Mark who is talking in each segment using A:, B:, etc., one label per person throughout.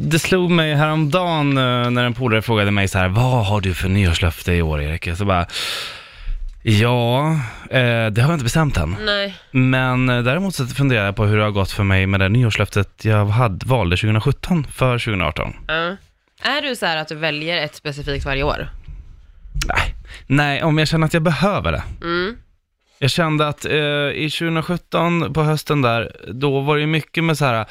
A: det slog mig häromdagen eh, när en polare frågade mig så här, vad har du för nyårslöfte i år Erik? Så bara, ja, eh, det har jag inte bestämt än.
B: Nej.
A: Men eh, däremot så funderar jag på hur det har gått för mig med det nyårslöftet jag hade, valde 2017 för 2018.
B: Ja. Är du så här att du väljer ett specifikt varje år?
A: Nej, Nej om jag känner att jag behöver det.
B: Mm.
A: Jag kände att eh, i 2017 på hösten där, då var det ju mycket med så här,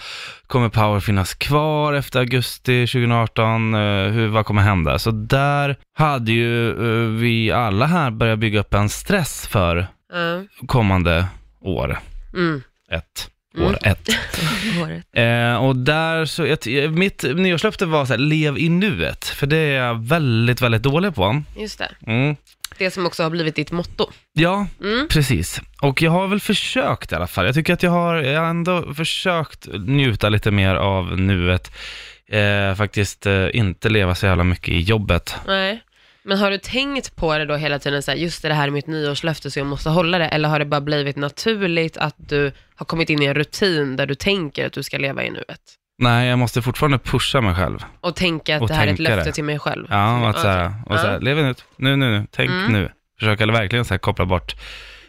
A: kommer Power finnas kvar efter augusti 2018? Eh, hur, vad kommer hända? Så där hade ju eh, vi alla här börjat bygga upp en stress för
B: Ja.
A: kommande år
B: Mm.
A: ett.
B: Mm.
A: År ett.
B: Året.
A: Eh, och där så, jag, ty- mitt nyårslöfte var så här, lev i nuet, för det är jag väldigt, väldigt dålig på.
B: Just det.
A: Mm.
B: Det som också har blivit ditt motto.
A: Ja,
B: Mm.
A: Precis. Och jag har väl försökt i alla fall. Jag tycker att jag har jag har ändå försökt njuta lite mer av nuet. Eh, faktiskt eh, inte leva så jävla mycket i jobbet.
B: Nej. Men har du tänkt på det då hela tiden, så här, just det, det här är mitt nyårslöfte så jag måste hålla det, eller har det bara blivit naturligt att du har kommit in i en rutin där du tänker att du ska leva i nuet?
A: Nej, jag måste fortfarande pusha mig själv.
B: Och tänka att
A: Och
B: det här är ett
A: tänka
B: löfte
A: det.
B: till mig själv?
A: Ja, att så här, och så här,
B: Ja.
A: lev nu, nu, nu, nu, tänk
B: Mm.
A: nu. Försöka verkligen så här koppla bort.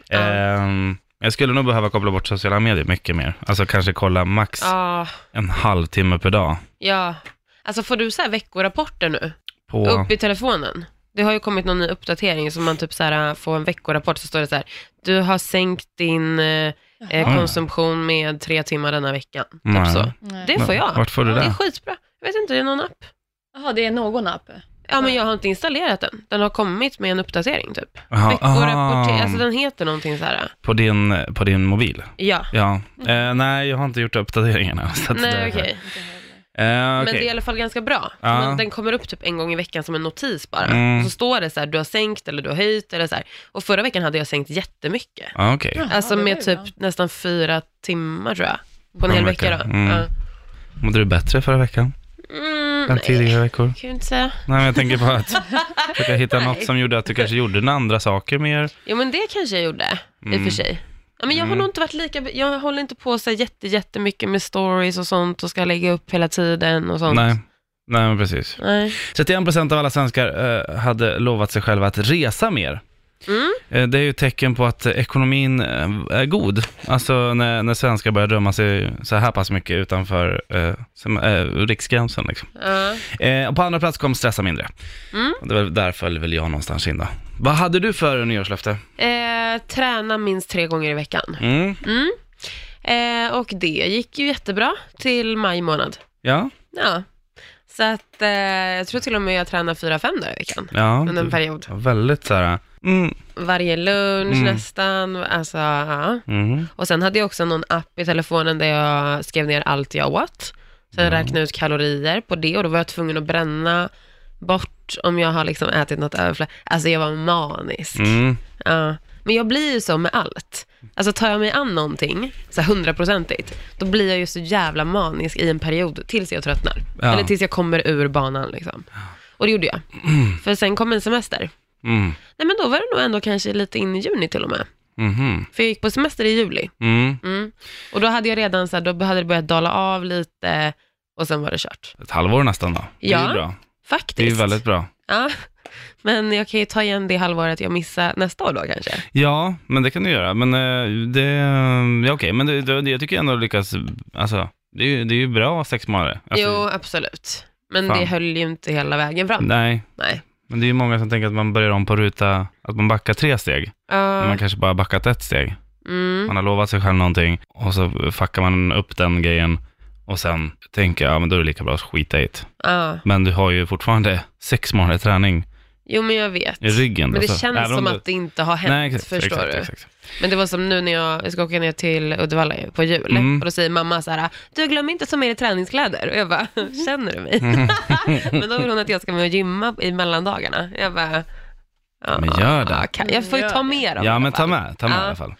B: Ja.
A: Ehm, jag skulle nog behöva koppla bort sociala medier mycket mer. Alltså kanske kolla max
B: Ja,
A: en halvtimme per dag.
B: ja. Alltså får du så här veckorapporter nu?
A: På...
B: Upp i telefonen? Det har ju kommit någon ny uppdatering som man typ så här, får en veckorapport så står det så här, du har sänkt din eh, eh,
A: Ah.
B: konsumtion med tre timmar denna veckan. Typ
A: Nej.
B: så.
C: Nej.
B: Det får jag.
A: Vart får du
B: Det är
A: det?
B: skitbra. Jag vet inte, det är någon app.
C: Jaha, det är någon app.
B: Ja, men jag har inte installerat den. Den har kommit med en uppdatering typ.
A: Jaha,
B: Veckorapportering,
A: Ah, aha.
B: alltså den heter någonting så här. äh.
A: På din, på din mobil?
B: Ja.
A: Ja, eh, nej jag har inte gjort uppdateringarna. Så att
B: Mm. Nej,
A: det-
B: okej.
C: Inte heller.
A: Eh,
B: Men det är i
A: okej.
B: alla fall ganska bra.
A: Ja.
B: Men den kommer upp typ en gång i veckan som en notis bara.
A: Mm.
B: Och så står det så här, du har sänkt eller du har höjt eller så här. Och förra veckan hade jag sänkt jättemycket.
A: Ja, okej.
C: Jaha,
B: alltså
C: det
B: med
C: var ju
B: typ
C: bra.
B: nästan fyra timmar tror jag. På en
A: Ja,
B: hel
A: men
B: vecka då.
A: okej. Mm.
B: Ja.
A: Mådde du bättre förra veckan
B: Mm,
A: än
B: nej,
A: tidigare veckor?
B: kan jag inte säga.
A: Nej, men jag tänker på att försöka hitta något
B: Nej.
A: som gjorde att du kanske gjorde några andra saker mer.
B: Jo men det kanske jag gjorde, i och
A: Mm.
B: för sig. Ja, men jag har
A: Mm.
B: nog inte varit lika, jag håller inte på så här jätte, jättemycket med stories och sånt och ska lägga upp hela tiden och sånt.
A: Nej. Nej, men precis.
B: Nej.
A: 31% av alla svenskar eh, hade lovat sig själva att resa mer.
B: Mm.
A: Eh, det är ju ett tecken på att eh, ekonomin eh, är god. Alltså när, när svenskar börjar drömma sig så här pass mycket utanför eh, sem- eh, riksgränsen. Liksom.
B: Ja.
A: Eh, och på andra plats kom stressa mindre.
B: Mm.
A: Det var, där föll väl jag någonstans in då. Vad hade du för nyårslöfte?
B: Eh, träna minst tre gånger i veckan.
A: Mm.
B: Mm. Eh, och det gick ju jättebra till maj månad.
A: Ja.
B: Ja. Så att eh, jag tror till och med jag tränar fyra, fem dagar i veckan
A: Ja.
B: under en
A: du-
B: period.
A: ja, Väldigt så här. Mm.
B: Varje lunch
A: Mm.
B: nästan, alltså ja.
A: Mm.
B: Och sen hade jag också någon app i telefonen där jag skrev ner allt jag åt. Sen
A: Ja.
B: räknade jag ut kalorier på det och då var jag tvungen att bränna bort om jag har liksom ätit något överflöd. Alltså jag var manisk.
A: Mm.
B: Ja. Men jag blir ju så med allt. Alltså tar jag mig an någonting, så här hundraprocentigt, då blir jag ju så jävla manisk i en period tills jag tröttnar.
A: Ja.
B: Eller tills jag kommer ur banan liksom. Och det gjorde jag. För sen kom en semester.
A: Mm.
B: Nej men då var det nog ändå kanske lite in i juni till och med.
A: Mhm.
B: För jag gick på semester i juli.
A: Mm.
B: Mm. Och då hade jag redan så här, då hade det börjat dala av lite och sen var det kört.
A: Ett halvår nästan då. Det är
B: Ja.
A: ju bra.
B: Faktiskt.
A: Det är ju väldigt bra.
B: Ja. Men jag kan ju ta igen det halvåret jag missar nästa år då kanske.
A: Ja, men det kan du göra. Men eh, det, ja, okej, men det, det, jag tycker ändå du lyckas, alltså, det är ju, det är ju bra sex månader. Alltså,
B: jo, absolut. Men
A: Fan.
B: det höll ju inte hela vägen fram.
A: Nej,
B: Nej.
A: men det är ju många som tänker att man börjar om på ruta, att man backar tre steg. Men man
B: Ja.
A: kanske bara backat ett steg.
B: mm.
A: Man har lovat sig själv någonting och så fuckar man upp den grejen och sen tänker jag, ja men då är det lika bra att skita i det.
B: Ja.
A: Men du har ju fortfarande sex månader träning
B: Jo, men jag vet.
A: i ryggen.
B: Men det
A: då, så
B: känns
A: även om
B: som
A: du-
B: att det inte har hänt,
A: Nej, exakt,
B: förstår
A: exakt,
B: du?
A: Exakt,
B: Men det var som nu när jag, jag ska åka ner till Uddevalla ju på jul
A: Mm.
B: och då säger mamma så här, du glöm inte att ta med dig träningskläder. Och jag bara, känner du mig?
A: Mm.
B: men då vill hon att jag ska med och gymma i mellandagarna. Jag bara, ja,
A: Men gör det.
B: ja, kan- Jag får ju
C: Gör
B: ta
C: det.
B: med dem. i
A: Ja
B: alla
A: men ta
B: fall.
A: med, ta med i
B: Ja.
A: alla fall.